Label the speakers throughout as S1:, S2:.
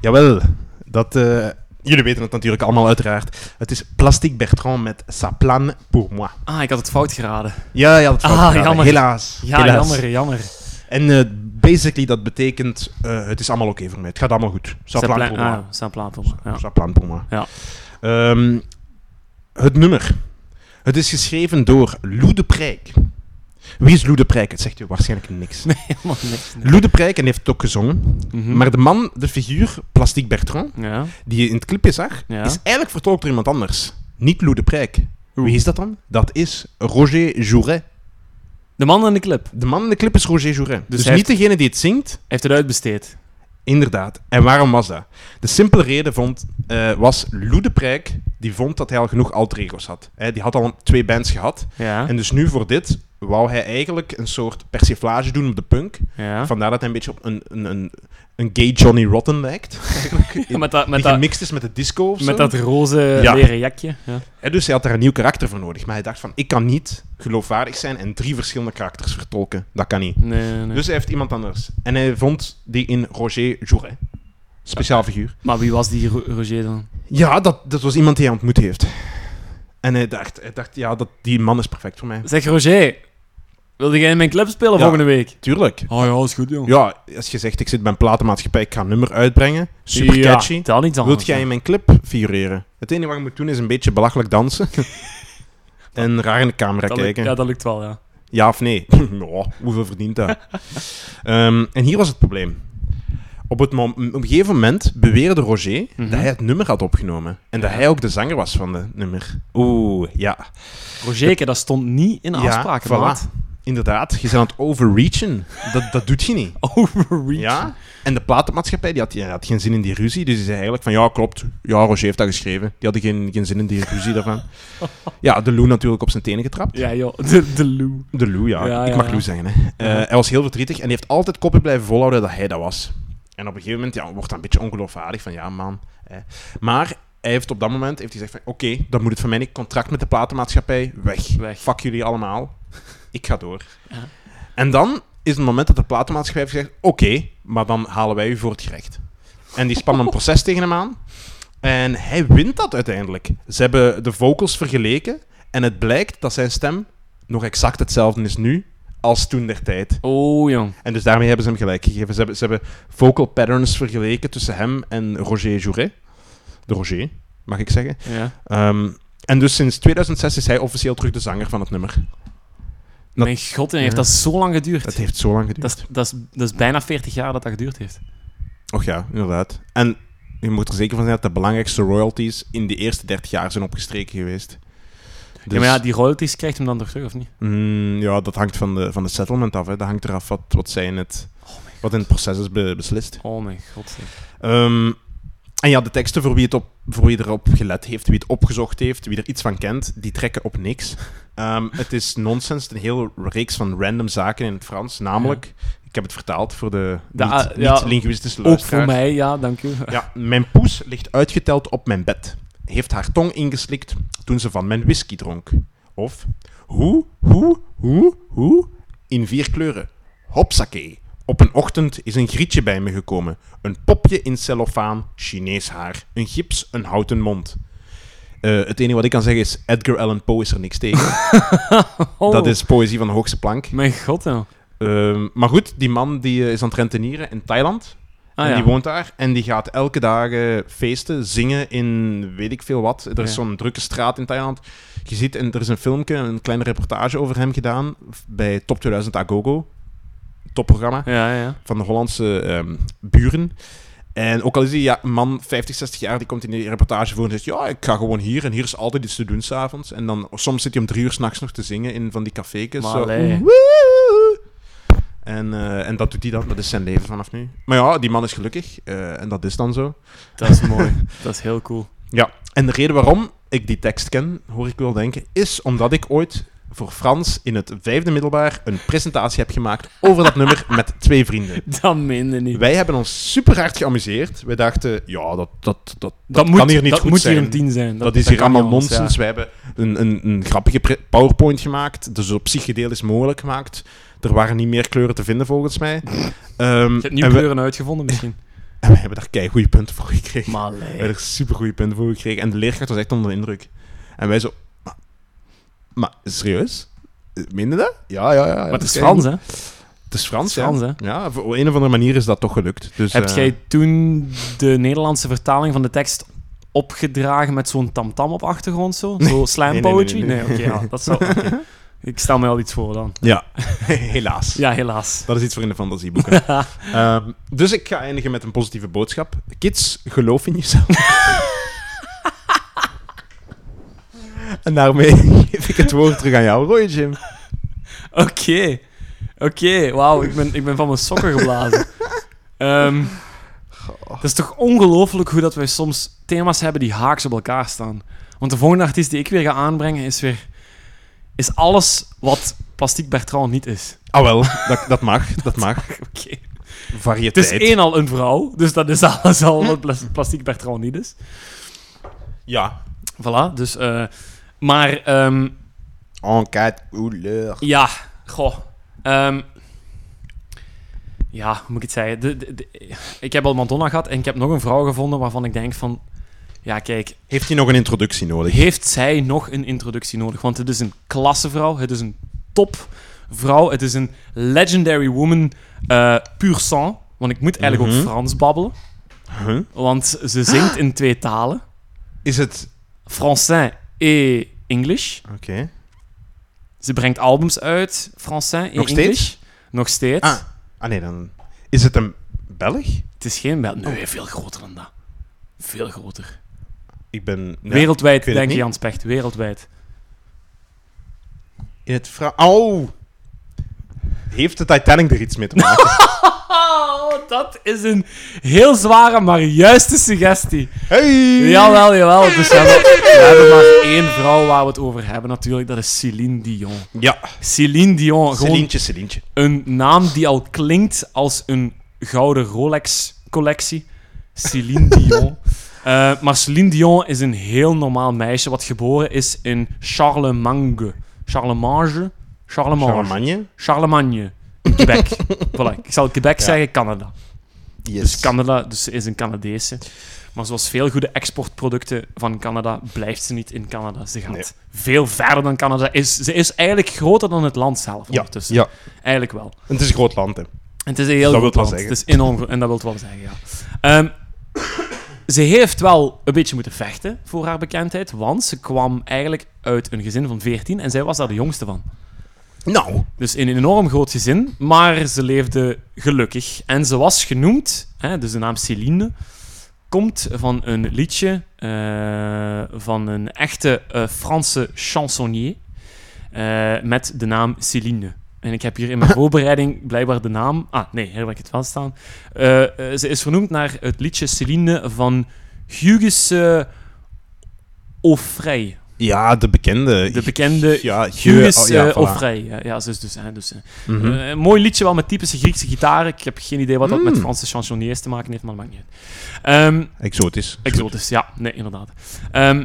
S1: Jawel, dat, eh, jullie weten het natuurlijk allemaal uiteraard. Het is Plastic Bertrand met Sa plan pour moi.
S2: Ah, ik had het fout geraden.
S1: Ja, ja, dat fout
S2: Ah,
S1: gedaan.
S2: jammer.
S1: Helaas.
S2: Ja,
S1: helaas.
S2: jammer, jammer.
S1: En eh, basically, dat betekent, eh, het is allemaal oké voor mij. Het gaat allemaal goed. Sa plan pour moi.
S2: Ah, zijn plaat voor mij, ja.
S1: Sa plan pour moi.
S2: Ja.
S1: Ehm, het nummer. Het is geschreven door Lou de Prijk. Wie is Lou de Prijk? Het zegt u waarschijnlijk niks.
S2: Nee, helemaal niks. nee.
S1: Lou de Prijk, en die heeft het ook gezongen.
S2: Mhm.
S1: Maar de man, de figuur, Plastic Bertrand,
S2: Ja,
S1: die je in het clipje zag,
S2: ja.
S1: is eigenlijk vertolkt door iemand anders. Niet Lou de Prijk.
S2: Oeh.
S1: Wie is dat dan? Dat is Roger Jouret.
S2: De man in de clip
S1: De man in de clip is Roger Jouret. Dus,
S2: hij
S1: niet degene die het zingt,
S2: heeft het uitbesteed.
S1: inderdaad. En waarom was dat? De simpele reden vond, eh, was Lou de Prijk, die vond dat hij al genoeg alter ego's had. Hè, die had al een- twee bands gehad.
S2: Ja,
S1: En dus nu voor dit wou hij eigenlijk een soort persiflage doen op de punk.
S2: ja.
S1: Vandaar dat hij een beetje op een, een, een, een gay Johnny Rotten lijkt.
S2: Ja, met dat, met
S1: die
S2: dat,
S1: gemixt is met de disco of zo.
S2: met dat roze
S1: Ja.
S2: leren jakje. Ja.
S1: Hè, dus hij had daar een nieuw karakter voor nodig. Maar hij dacht van, ik kan niet geloofwaardig zijn en drie verschillende karakters vertolken. Dat kan niet.
S2: Nee, nee, nee.
S1: Dus hij heeft iemand anders. En hij vond die in Roger Jouret. Speciaal figuur.
S2: Maar wie was die Ro- Roger dan?
S1: Ja, dat, dat was iemand die hij ontmoet heeft. En hij dacht, hij dacht ja, dat, die man is perfect voor mij.
S2: Zeg Roger, wilde jij in mijn clip spelen
S1: Ja.
S2: volgende week?
S1: Tuurlijk.
S2: Oh ja, is goed, jong.
S1: Ja, als je zegt, ik zit bij een platenmaatschappij, ik ga een nummer uitbrengen. Super
S2: Ja,
S1: catchy.
S2: Dat niet anders.
S1: Wilt jij in mijn clip figureren? Het enige wat je moet doen is een beetje belachelijk dansen. en raar in de camera
S2: dat lukt,
S1: kijken.
S2: Ja, dat lukt wel, ja.
S1: Ja of nee? Ja, hoeveel verdient dat? Ehm, en hier was het probleem. Op, het mom- op een gegeven moment beweerde Roger
S2: Mhm.
S1: dat hij het nummer had opgenomen. En dat
S2: Ja.
S1: hij ook de zanger was van het nummer. Oeh, ja.
S2: Rogerke, dat stond niet in de
S1: Ja,
S2: afspraken,
S1: voilà.
S2: maat.
S1: Inderdaad, je bent aan het overreachen. Dat, dat doet je
S2: Oh.
S1: niet.
S2: Overreach.
S1: Ja? En de platenmaatschappij die had, die had geen zin in die ruzie. Dus die zei eigenlijk van, ja, klopt. Ja, Roger heeft dat geschreven. Die hadden geen, geen zin in die ruzie daarvan. Ja, de Lou natuurlijk op zijn tenen getrapt.
S2: Ja, joh. De, de Lou.
S1: De Lou, ja.
S2: Ja,
S1: ik
S2: ja,
S1: mag
S2: ja.
S1: Lou zeggen. Hè. Eh,
S2: Ja.
S1: Hij was heel verdrietig en hij heeft altijd koppig blijven volhouden dat hij dat was. En op een gegeven moment ja, wordt dat een beetje ongeloofwaardig van ja, man. Hè. Maar hij heeft op dat moment heeft hij gezegd van oké, dan moet het van mij niet. Contract met de platenmaatschappij, weg.
S2: Weg.
S1: Fuck jullie allemaal. Ik ga door.
S2: Ja.
S1: En dan is het moment dat de platenmaatschappij heeft gezegd oké, maar dan halen wij u voor het gerecht. En die spannen een proces tegen hem aan. En hij wint dat uiteindelijk. Ze hebben de vocals vergeleken en het blijkt dat zijn stem nog exact hetzelfde is nu als toen der tijd.
S2: Oh, jong.
S1: En dus daarmee hebben ze hem gelijk gegeven. Ze hebben, ze hebben vocal patterns vergeleken tussen hem en Roger Jouret. De Roger, mag ik zeggen.
S2: Ja.
S1: Ehm, en dus sinds 2006 is hij officieel terug de zanger van het nummer. Dat-
S2: Mijn god, en heeft
S1: Ja.
S2: dat zo lang geduurd.
S1: Dat heeft zo lang
S2: Dat
S1: geduurd. Dus-
S2: is, dat, is, dat is bijna 40 jaar dat dat geduurd heeft.
S1: Och ja, inderdaad. En je moet er zeker van zijn dat de belangrijkste royalties in de eerste 30 jaar zijn opgestreken geweest.
S2: Ja,
S1: Dus-
S2: maar ja, die royalties krijgt hem dan toch terug, of niet?
S1: Mm, ja, dat hangt van de, van de settlement af. Hè. Dat hangt eraf wat, wat zij in het, wat in het proces is be- beslist.
S2: Oh mijn god. zeg.
S1: Ehm, en ja, de teksten voor wie, het op, voor wie erop gelet heeft, wie het opgezocht heeft, wie er iets van kent, die trekken op niks. Ehm, het is nonsens, een hele reeks van random zaken in het Frans. Namelijk, ik heb het vertaald voor de
S2: Da-
S1: niet-
S2: ja,
S1: niet-linguïstische
S2: Ook
S1: luisteraars.
S2: voor mij, ja, dank u.
S1: Ja, mijn poes ligt uitgeteld op mijn bed. Heeft haar tong ingeslikt toen ze van mijn whisky dronk. Of hoe, hoe, hoe, hoe in vier kleuren. Hopsakee. Op een ochtend is een grietje bij me gekomen. Een popje in cellofaan, Chinees haar, een gips, een houten mond. Eh, het enige wat ik kan zeggen is, Edgar Allan Poe is er niks tegen.
S2: Oh,
S1: Dat is poëzie van de hoogste plank.
S2: Mijn god, ja. Ah,
S1: Ehm, maar goed, die man die, eh, is aan het rentenieren in Thailand
S2: Ah,
S1: en
S2: ja.
S1: die woont daar en die gaat elke dagen feesten, zingen in weet ik veel wat. Er is
S2: Ja.
S1: zo'n drukke straat in Thailand. Je ziet, en er is een filmpje, een kleine reportage over hem gedaan f- bij Top 2000 Agogo. Topprogramma
S2: Ja, ja, ja.
S1: van de Hollandse ehm, buren. En ook al is hij ja, een man 50, 60 jaar, die komt in die reportage voor en zegt... Ja, ik ga gewoon hier en hier is altijd iets te doen s'avonds. En dan soms zit hij om drie uur s'nachts nog te zingen in van die cafékes.
S2: Maar
S1: zo,
S2: allee.
S1: "Woe." En, eh, en dat doet hij dan. Dat is zijn leven vanaf nu. Maar ja, die man is gelukkig. eh, en dat is dan zo.
S2: Dat is mooi. dat is heel cool.
S1: Ja, en de reden waarom ik die tekst ken, hoor ik wel denken, is omdat ik ooit voor Frans in het vijfde middelbaar een presentatie heb gemaakt over dat nummer met twee vrienden.
S2: Dat minder niet.
S1: Wij hebben ons super hard geamuseerd. Wij dachten, ja, dat, dat, dat,
S2: dat
S1: kan hier niet
S2: dat
S1: goed
S2: moet
S1: zijn.
S2: hier een 10 zijn.
S1: dat is hier
S2: kan niet
S1: allemaal
S2: anders, ja.
S1: nonsens. Wij hebben een, een, een grappige pre- PowerPoint gemaakt, dus op zich gedeeltes mogelijk gemaakt. Er waren niet meer kleuren te vinden, volgens mij. Ehm,
S2: Je hebt nieuwe
S1: en we-
S2: kleuren uitgevonden misschien.
S1: En we hebben daar kei goede punten voor gekregen.
S2: Maar
S1: We hebben er super goede punten voor gekregen. En de leerkracht was echt onder de indruk. En wij zo... Maar, maar serieus? Minder dat? Ja, ja, ja. ja,
S2: Maar het is
S1: kei
S2: Frans, hè?
S1: goed. Het is Frans,
S2: Het is Frans,
S1: ja.
S2: hè?
S1: Ja, op een of andere manier is dat toch gelukt. Dus,
S2: Heb
S1: eh,
S2: jij toen de Nederlandse vertaling van de tekst opgedragen met zo'n tamtam op achtergrond? Zo, zo slam
S1: nee, nee,
S2: poetry?
S1: nee, nee.
S2: oké, ja, dat zou... oké. Ik stel mij al iets voor dan.
S1: Ja, helaas.
S2: Ja, helaas.
S1: Dat is iets voor in de fantasieboeken. Ehm, dus ik ga eindigen met een positieve boodschap. Kids, geloof in jezelf. en daarmee geef ik het woord terug aan jou, Roy Jim.
S2: Oké. Oké, wauw. Ik ben, ik ben van mijn sokken geblazen. Ehm, het is toch ongelooflijk hoe dat wij soms thema's hebben die haaks op elkaar staan. Want de volgende artiest die ik weer ga aanbrengen is weer... Is alles wat Plastic Bertrand niet is.
S1: Ah wel, dat, dat mag, dat mag.
S2: Oké. Het
S1: Variëteit.
S2: is één al een vrouw, dus dat is alles al wat plas- Plastic Bertrand niet is.
S1: Ja.
S2: Voilà, dus... eh, maar, ehm,
S1: Enquête couleur.
S2: ja, goh. Ehm, ja, hoe moet ik het zeggen? De, de- de- ik heb al Madonna gehad en ik heb nog een vrouw gevonden waarvan ik denk van... Ja, kijk,
S1: Heeft hij nog een introductie nodig?
S2: heeft zij nog een introductie nodig? Want het is een klassevrouw, het is een topvrouw, het is een legendary woman, eh pur sang. Want ik moet eigenlijk
S1: Mhm.
S2: ook Frans babbelen,
S1: Huh?
S2: want ze zingt in twee talen.
S1: Is het...
S2: Français et English.
S1: Oké.
S2: Ze brengt albums uit, Français et
S1: Nog steeds?
S2: English. Nog steeds.
S1: Ah. Ah nee, dan... Is het een Belg?
S2: Het is geen
S1: Oh.
S2: Belg. Nee, veel groter dan dat. Veel groter.
S1: Ik ben... ja, ik
S2: wereldwijd,
S1: weet het
S2: denk je,
S1: niet.
S2: Jans Pecht. Wereldwijd.
S1: In het Frans... Oh! Heeft de Titanic er iets mee te maken?
S2: Oh, dat is een heel zware, maar juiste suggestie.
S1: Hey!
S2: Jawel, jawel. Dus we hebben, we hebben maar één vrouw waar we het over hebben natuurlijk. Dat is Céline Dion.
S1: Ja,
S2: Céline Dion, gewoon
S1: Celientje, Celientje.
S2: een naam die al klinkt als een gouden Rolex-collectie. Céline Dion. Eh, maar Céline Dion is een heel normaal meisje wat geboren is in Charlemagne. Charlemagne? Charlemagne.
S1: Charlemagne?
S2: Charlemagne. In Quebec. voilà, ik zal Quebec zeggen, Canada.
S1: Yes.
S2: Dus Canada dus ze is een Canadese. Maar zoals veel goede exportproducten van Canada, blijft ze niet in Canada. Ze gaat
S1: Nee.
S2: veel verder dan Canada. Is, ze is eigenlijk groter dan het land zelf
S1: Ja,
S2: ondertussen.
S1: ja.
S2: Eigenlijk wel.
S1: Het is een groot land, hè.
S2: En Het is een heel
S1: Dat
S2: groot
S1: wil
S2: land.
S1: het wel
S2: Het is enorm gro- en dat wil het wel zeggen, ja. Ehm, ze heeft wel een beetje moeten vechten voor haar bekendheid, want ze kwam eigenlijk uit een gezin van 14 en zij was daar de jongste van.
S1: Nou.
S2: Dus in een enorm groot gezin, maar ze leefde gelukkig. En ze was genoemd, hè, dus de naam Céline, komt van een liedje eh, van een echte eh, Franse chansonnier eh, met de naam Céline. En ik heb hier in mijn voorbereiding blijkbaar de naam... Ah, nee, hier heb ik het wel staan. Eh, eh, ze is vernoemd naar het liedje Céline van Hugues eh Auffray.
S1: Ja, de bekende.
S2: De bekende
S1: Ja,
S2: Hugues
S1: oh,
S2: of
S1: ja, voilà.
S2: eh, Ja, ja, dus, dus, hè, dus, hè.
S1: Mhm.
S2: Eh, een mooi liedje wel met typische Griekse gitaren. Ik heb geen idee wat dat
S1: Mm.
S2: met Franse chansonniers te maken heeft, maar dat maakt niet uit. Ehm,
S1: Exotisch.
S2: exotisch, ja. Nee, inderdaad. Ehm,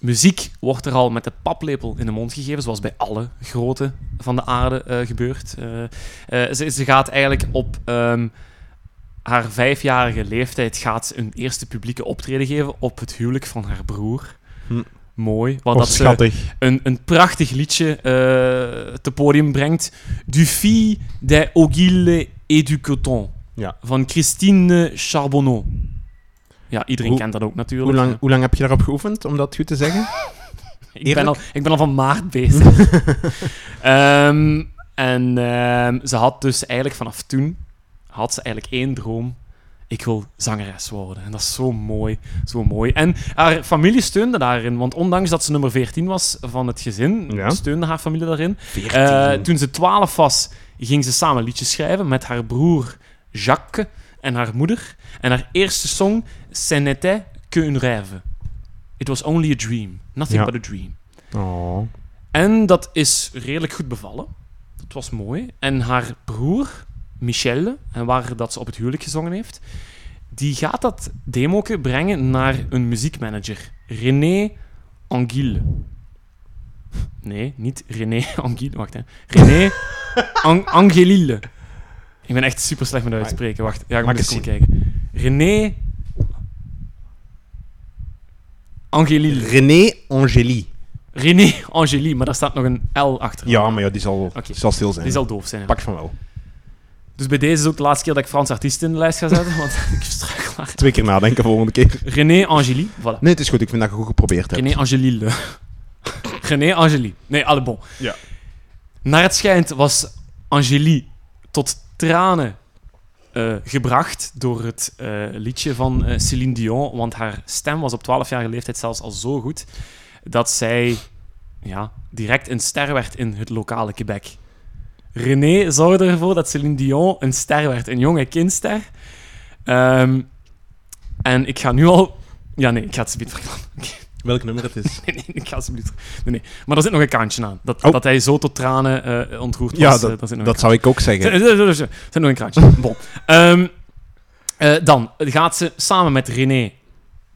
S2: muziek wordt er al met de paplepel in de mond gegeven, zoals bij alle grote van de aarde eh, gebeurt. Eh, eh, ze, ze gaat eigenlijk op ehm, haar vijfjarige leeftijd gaat ze een eerste publieke optreden geven op het huwelijk van haar broer.
S1: Hm.
S2: Mooi. Wat
S1: Oh,
S2: dat eh, ze
S1: schattig.
S2: een, een prachtig liedje eh te podium brengt. Du fille des Ogilles et du Coton.
S1: Ja.
S2: Van Christine Charbonneau. Ja, iedereen
S1: Hoe-
S2: kent dat ook
S1: Hoe
S2: natuurlijk.
S1: lang, hoe lang heb je daarop geoefend, om dat goed te zeggen?
S2: ik, ben
S1: Eerlijk?
S2: al, ik ben al van maart bezig. Ehm, en ehm, ze had dus eigenlijk vanaf toen... Had ze eigenlijk één droom. Ik wil zangeres worden. En dat is zo mooi. Zo mooi. En haar familie steunde daarin. Want ondanks dat ze nummer 14 was van het gezin...
S1: Ja.
S2: steunde haar familie daarin. Eh,
S1: Veertien.
S2: toen ze 12 was, ging ze samen liedjes schrijven met haar broer Jacques en haar moeder. En haar eerste song, Ce n'était qu'un rêve. It was only a dream. Nothing
S1: Ja.
S2: but a dream.
S1: Oh.
S2: En dat is redelijk goed bevallen. Dat was mooi. En haar broer, Michelle, en waar dat ze op het huwelijk gezongen heeft, die gaat dat demoke brengen naar een muziekmanager. René Anguille. Nee, niet René Anguille. Wacht, hè. René An- Angelille. Ik ben echt super slecht met uitspreken. Wacht, ja, ik
S1: Mag
S2: moet
S1: ik het
S2: eens komen kijken. René Angelie.
S1: René Angélie.
S2: René Angelie, maar daar staat nog een L achter.
S1: Ja, maar ja, die zal,
S2: Oké.
S1: zal stil zijn.
S2: Die zal doof zijn.
S1: Pak van wel.
S2: Dus bij deze is ook de laatste keer dat ik Frans artiesten in de lijst ga zetten, want ik struikel hard.
S1: Twee keer nadenken volgende keer.
S2: René Angélie, voilà.
S1: Nee, het is goed. Ik vind dat je goed geprobeerd hebt.
S2: René Angélie. Le. René Angélie. Nee, alle bon.
S1: Ja.
S2: Naar het schijnt was Angélie tot tranen eh, gebracht door het eh, liedje van eh, Céline Dion, want haar stem was op 12-jarige leeftijd zelfs al zo goed dat zij ja, direct een ster werd in het lokale Quebec. René zorgde ervoor dat Céline Dion een ster werd, een jonge kindster. Ehm, en ik ga nu al... Ja, nee, ik ga het zo niet verklappen. Oké.
S1: Welk nummer het is.
S2: Nee, nee, ik ga alsjeblieft. Nee, nee. Maar er zit nog een kantje aan. Dat,
S1: Oh.
S2: dat hij zo tot tranen eh, ontroerd
S1: ja,
S2: was. eh,
S1: dat,
S2: daar zit nog
S1: dat zou ik ook zeggen.
S2: een kantje. Er zit nog een kantje. Bon. Ehm, eh, dan gaat ze samen met René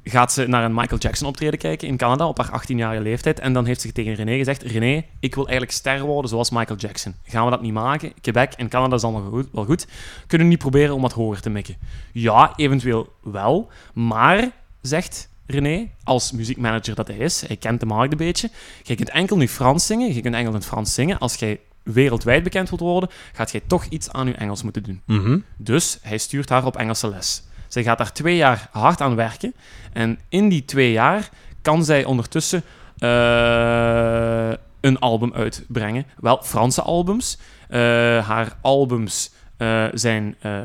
S2: gaat ze naar een Michael Jackson optreden kijken in Canada op haar 18-jarige leeftijd. En dan heeft ze tegen René gezegd... René, ik wil eigenlijk ster worden zoals Michael Jackson. Gaan we dat niet maken? Quebec en Canada is allemaal goed, wel goed. Kunnen we niet proberen om wat hoger te mikken? Ja, eventueel wel. Maar, zegt René, als muziekmanager dat hij is, hij kent de markt een beetje, jij kunt enkel nu Frans zingen, je kunt enkel in het Frans zingen. Als jij wereldwijd bekend wilt worden, gaat jij toch iets aan je Engels moeten doen.
S1: Mhm.
S2: Dus hij stuurt haar op Engelse les. Zij gaat daar twee jaar hard aan werken. En in die twee jaar kan zij ondertussen eh, een album uitbrengen. Wel, Franse albums. Eh, haar albums eh, zijn eh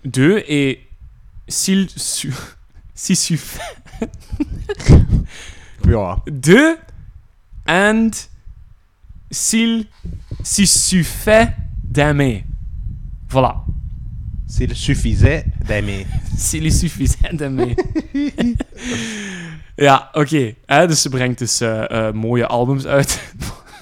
S2: De et S'il su- s'il suffit-
S1: Ja.
S2: De and S'il s'il suffit d'aimer. Voilà.
S1: C'est le suffisait daarmee.
S2: Silly suffisant daarmee. ja, oké. Hè, Dus ze brengt dus eh, eh, mooie albums uit.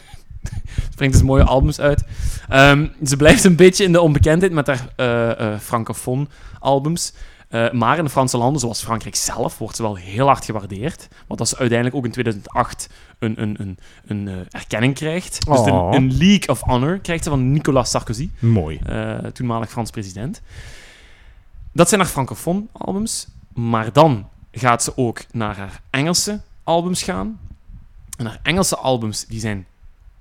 S2: ze brengt dus mooie albums uit. Ehm, ze blijft een beetje in de onbekendheid met haar eh eh francofoon albums. Eh, maar in de Franse landen, zoals Frankrijk zelf, wordt ze wel heel hard gewaardeerd. Want als ze uiteindelijk ook in 2008 een, een, een, een eh, erkenning krijgt. Dus de-
S1: Oh.
S2: een League of Honor krijgt ze van Nicolas Sarkozy
S1: Mooi.
S2: eh, toenmalig Frans president. Dat zijn haar francofoon albums. Maar dan gaat ze ook naar haar Engelse albums gaan. En haar Engelse albums die zijn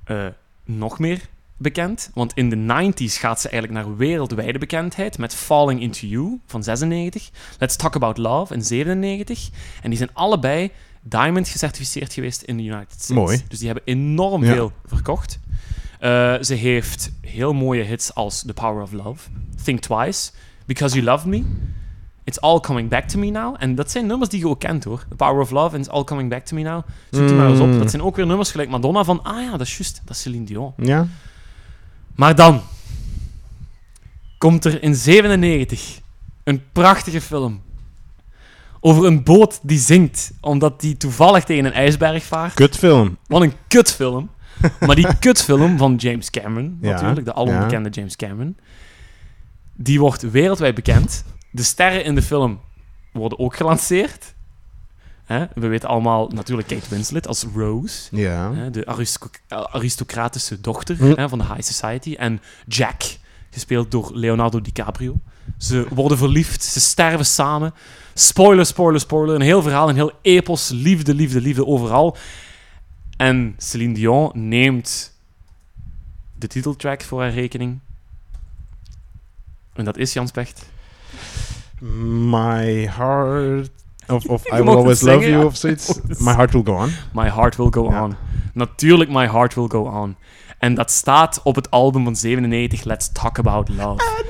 S2: eh, nog meer bekend. Want in de 90s gaat ze eigenlijk naar wereldwijde bekendheid met Falling Into You van 96, Let's Talk About Love in 97. En die zijn allebei Diamond gecertificeerd geweest in de United States.
S1: Mooi.
S2: Dus die hebben enorm
S1: Ja.
S2: veel verkocht. Eh, ze heeft heel mooie hits als The Power of Love, Think Twice, Because You Love Me, It's All Coming Back to Me Now. En dat zijn nummers die je ook kent hoor. The Power of Love en It's All Coming Back to Me Now. Zoek die maar eens op.
S1: Mm.
S2: Dat zijn ook weer nummers gelijk Madonna van, ah ja, dat is juist, dat is Celine Dion.
S1: Ja.
S2: Maar dan komt er in 97 een prachtige film over een boot die zinkt omdat die toevallig tegen een ijsberg vaart.
S1: Kutfilm.
S2: Wat een kutfilm. Maar die kutfilm van James Cameron,
S1: Ja,
S2: natuurlijk, de alonbekende James Cameron, die wordt wereldwijd bekend. De sterren in de film worden ook gelanceerd. Hè, We weten allemaal natuurlijk Kate Winslet als Rose.
S1: Ja.
S2: Hè, de aristo- eh, aristocratische dochter
S1: Hm.
S2: hè, van de High Society. En Jack, gespeeld door Leonardo DiCaprio. Ze worden verliefd, ze sterven samen. Spoiler, spoiler, spoiler. Een heel verhaal, een heel epos. Liefde, liefde, liefde overal. En Céline Dion neemt de titeltrack voor haar rekening. En dat is Jans Pecht.
S1: My heart... Of, of I
S2: mag
S1: will
S2: het
S1: always love
S2: zingen,
S1: you
S2: ja.
S1: of zoiets.
S2: het
S1: My heart will go on.
S2: My Heart Will Go
S1: Ja.
S2: On. Natuurlijk My Heart Will Go On. En dat staat op het album van 97, Let's Talk About Love.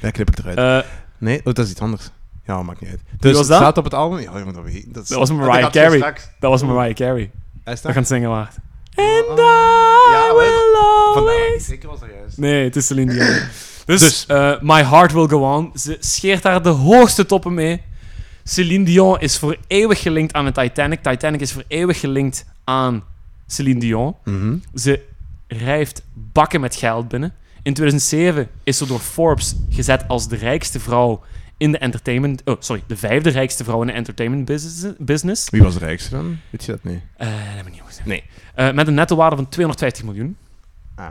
S1: Daar knip ik eruit.
S2: Eh,
S1: Nee, oh, dat is iets anders. Ja, maakt niet uit. Dus
S2: was
S1: het
S2: dat?
S1: staat op het album. Ja, jongen, dat weet ik. is-
S2: Dat was Mariah
S1: gaat zo
S2: Carey.
S1: straks.
S2: dat was Mariah Carey.
S1: Hij staat
S2: Dat gaan zingen waard. And I
S1: oh. Ja,
S2: will
S1: vandaag.
S2: always...
S1: Oh, Zeker was er juist.
S2: Nee, het is Celine Dion. Dus,
S1: Dus.
S2: eh, My Heart Will Go On. Ze scheert daar de hoogste toppen mee. Celine Dion is voor eeuwig gelinkt aan de Titanic. Titanic is voor eeuwig gelinkt aan Celine Dion.
S1: Mhm.
S2: Ze rijft bakken met geld binnen. In 2007 is ze door Forbes gezet als de rijkste vrouw in de entertainment... Oh, sorry. De vijfde rijkste vrouw in de entertainment business. business.
S1: Wie was de rijkste dan? Weet je dat niet?
S2: Eh, dat heb ik niet goed gezegd.
S1: Nee.
S2: Eh, met een netto waarde van 250 miljoen.
S1: Ah.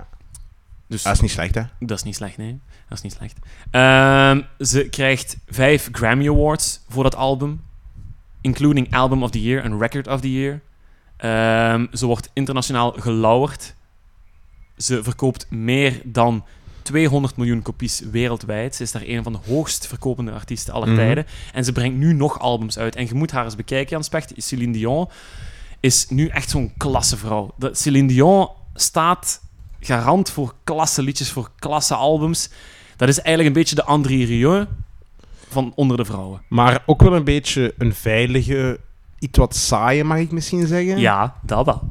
S2: Dus
S1: Dat is niet slecht, hè?
S2: dat is niet slecht, nee. Dat is niet slecht. Ehm, ze krijgt vijf Grammy Awards voor dat album. Including Album of the Year en Record of the Year. Ehm, ze wordt internationaal gelauwerd. Ze verkoopt meer dan 200 miljoen kopies wereldwijd. Ze is daar een van de hoogst verkopende artiesten aller
S1: Mhm.
S2: tijden. En ze brengt nu nog albums uit. En je moet haar eens bekijken, Jan Specht. Céline Dion is nu echt zo'n klassevrouw. Dat- Céline Dion staat garant voor klasse liedjes, voor klasse albums. Dat is eigenlijk een beetje de André Rieu van onder de vrouwen.
S1: Maar ook wel een beetje een veilige, iets wat saaie, mag ik misschien zeggen.
S2: Ja, dat wel.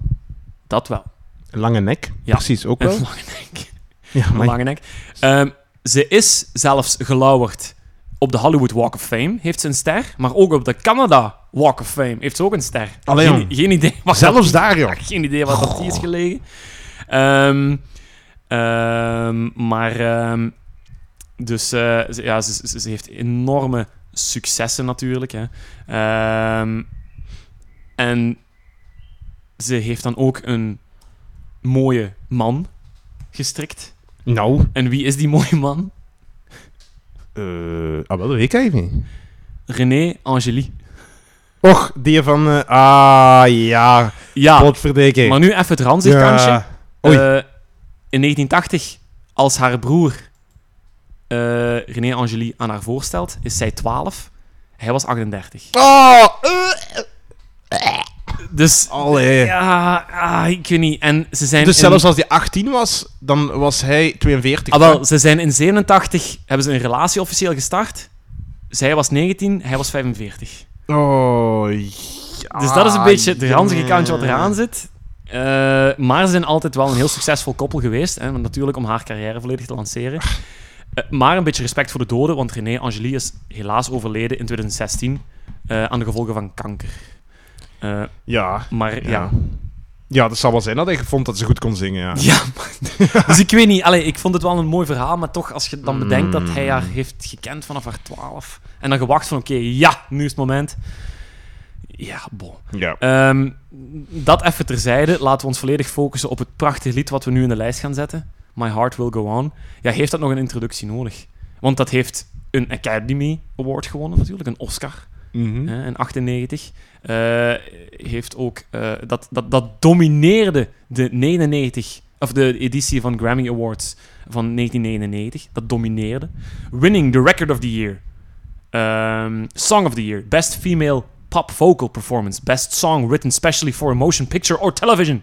S2: Dat wel.
S1: Een lange nek,
S2: Ja.
S1: precies, ook wel.
S2: Een lange nek.
S1: Ja,
S2: Een
S1: maar
S2: lange nek. Ehm, ze is zelfs gelauwerd op de Hollywood Walk of Fame, heeft ze een ster. Maar ook op de Canada Walk of Fame heeft ze ook een ster.
S1: Allee,
S2: geen,
S1: jong.
S2: geen idee wat dat
S1: zelfs daar, joh.
S2: geen idee waar dat die is gelegen. Ehm, ehm, maar, ehm, dus eh, ze, ja, ze, ze- ze heeft enorme successen natuurlijk. Hè. Ehm, en ze heeft dan ook een mooie man gestrikt.
S1: Nou,
S2: En wie is die mooie man?
S1: eh, ah, wel, dat weet ik eigenlijk niet.
S2: René Angélie.
S1: Och, die van... eh, ah, ja,
S2: Ja,
S1: potverdikking.
S2: maar nu even het ranzigkantje.
S1: Ah. Ja. Oei.
S2: Eh, in 1980, als haar broer eh, René Angélie aan haar voorstelt, is zij 12. Hij was 38.
S1: Oh, eh,
S2: Dus
S1: allee.
S2: ja, ah, ik weet niet. En ze zijn
S1: Dus
S2: in,
S1: zelfs als hij 18 was, dan was hij 42.
S2: Ah, wel, ze zijn in 87 hebben ze een relatie officieel gestart. Zij was 19, hij was 45.
S1: Oh, ja,
S2: Dus dat is een beetje het ranzige
S1: ja.
S2: kantje wat eraan zit. Eh, maar ze zijn altijd wel een heel succesvol koppel geweest. Hè, want natuurlijk om haar carrière volledig te lanceren. Eh, maar een beetje respect voor de doden, want René Angélie is helaas overleden in 2016 eh, aan de gevolgen van kanker. Eh,
S1: Ja.
S2: maar ja.
S1: Ja. ja, dat zal wel zijn dat hij vond dat ze goed kon zingen. Ja.
S2: Ja, maar- dus ik weet niet. Allee, ik vond het wel een mooi verhaal, maar toch, als je dan bedenkt dat hij haar heeft gekend vanaf haar 12 en dan gewacht van: oké, ja, nu is het moment. Ja, bon.
S1: ja.
S2: Ehm, dat even terzijde. Laten we ons volledig focussen op het prachtige lied wat we nu in de lijst gaan zetten. My Heart Will Go On. Ja, heeft dat nog een introductie nodig? Want dat heeft een Academy Award gewonnen natuurlijk, een Oscar
S1: Mhm.
S2: hè, in 98. Eh, heeft ook, eh, dat, dat, dat domineerde de 99, of de editie van Grammy Awards van 1999. Dat domineerde. Winning the Record of the Year. Ehm, song of the Year. Best Female Pop Vocal Performance. Best Song Written Specially for a Motion Picture or Television.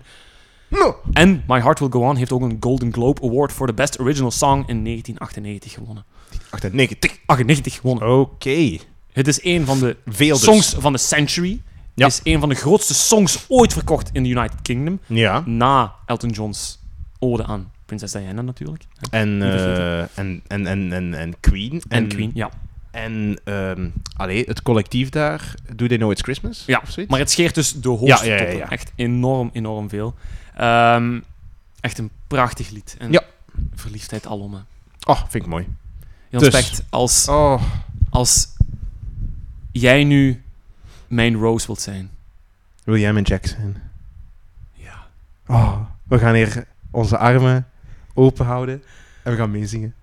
S1: No.
S2: En My Heart Will Go On heeft ook een Golden Globe Award voor de Best Original Song in 1998 gewonnen.
S1: 98.
S2: 98 gewonnen.
S1: Oké.
S2: Het is een van de
S1: Veel dus.
S2: Songs van the Century.
S1: Ja.
S2: Is een van de grootste songs ooit verkocht in de United Kingdom.
S1: Ja.
S2: Na Elton John's ode aan prinses Diana natuurlijk.
S1: En, eh,
S2: Ieder
S1: en, en, en, en, en Queen.
S2: En, Queen, ja.
S1: En ehm, allee, het collectief daar, Do They Know It's Christmas?
S2: ja.
S1: Of zoiets?
S2: Maar het scheert dus de hoogste
S1: Ja, ja, ja,
S2: toppen.
S1: ja.
S2: Echt enorm, enorm veel. Ehm, echt een prachtig lied. En
S1: Ja.
S2: verliefdheid alom. hè.
S1: Oh, vind ik mooi.
S2: Jan
S1: Dus.
S2: Specht, als,
S1: Oh.
S2: als jij nu mijn Rose wilt zijn...
S1: William en Jackson.
S2: Ja.
S1: Oh, we gaan hier onze armen open houden en we gaan meezingen.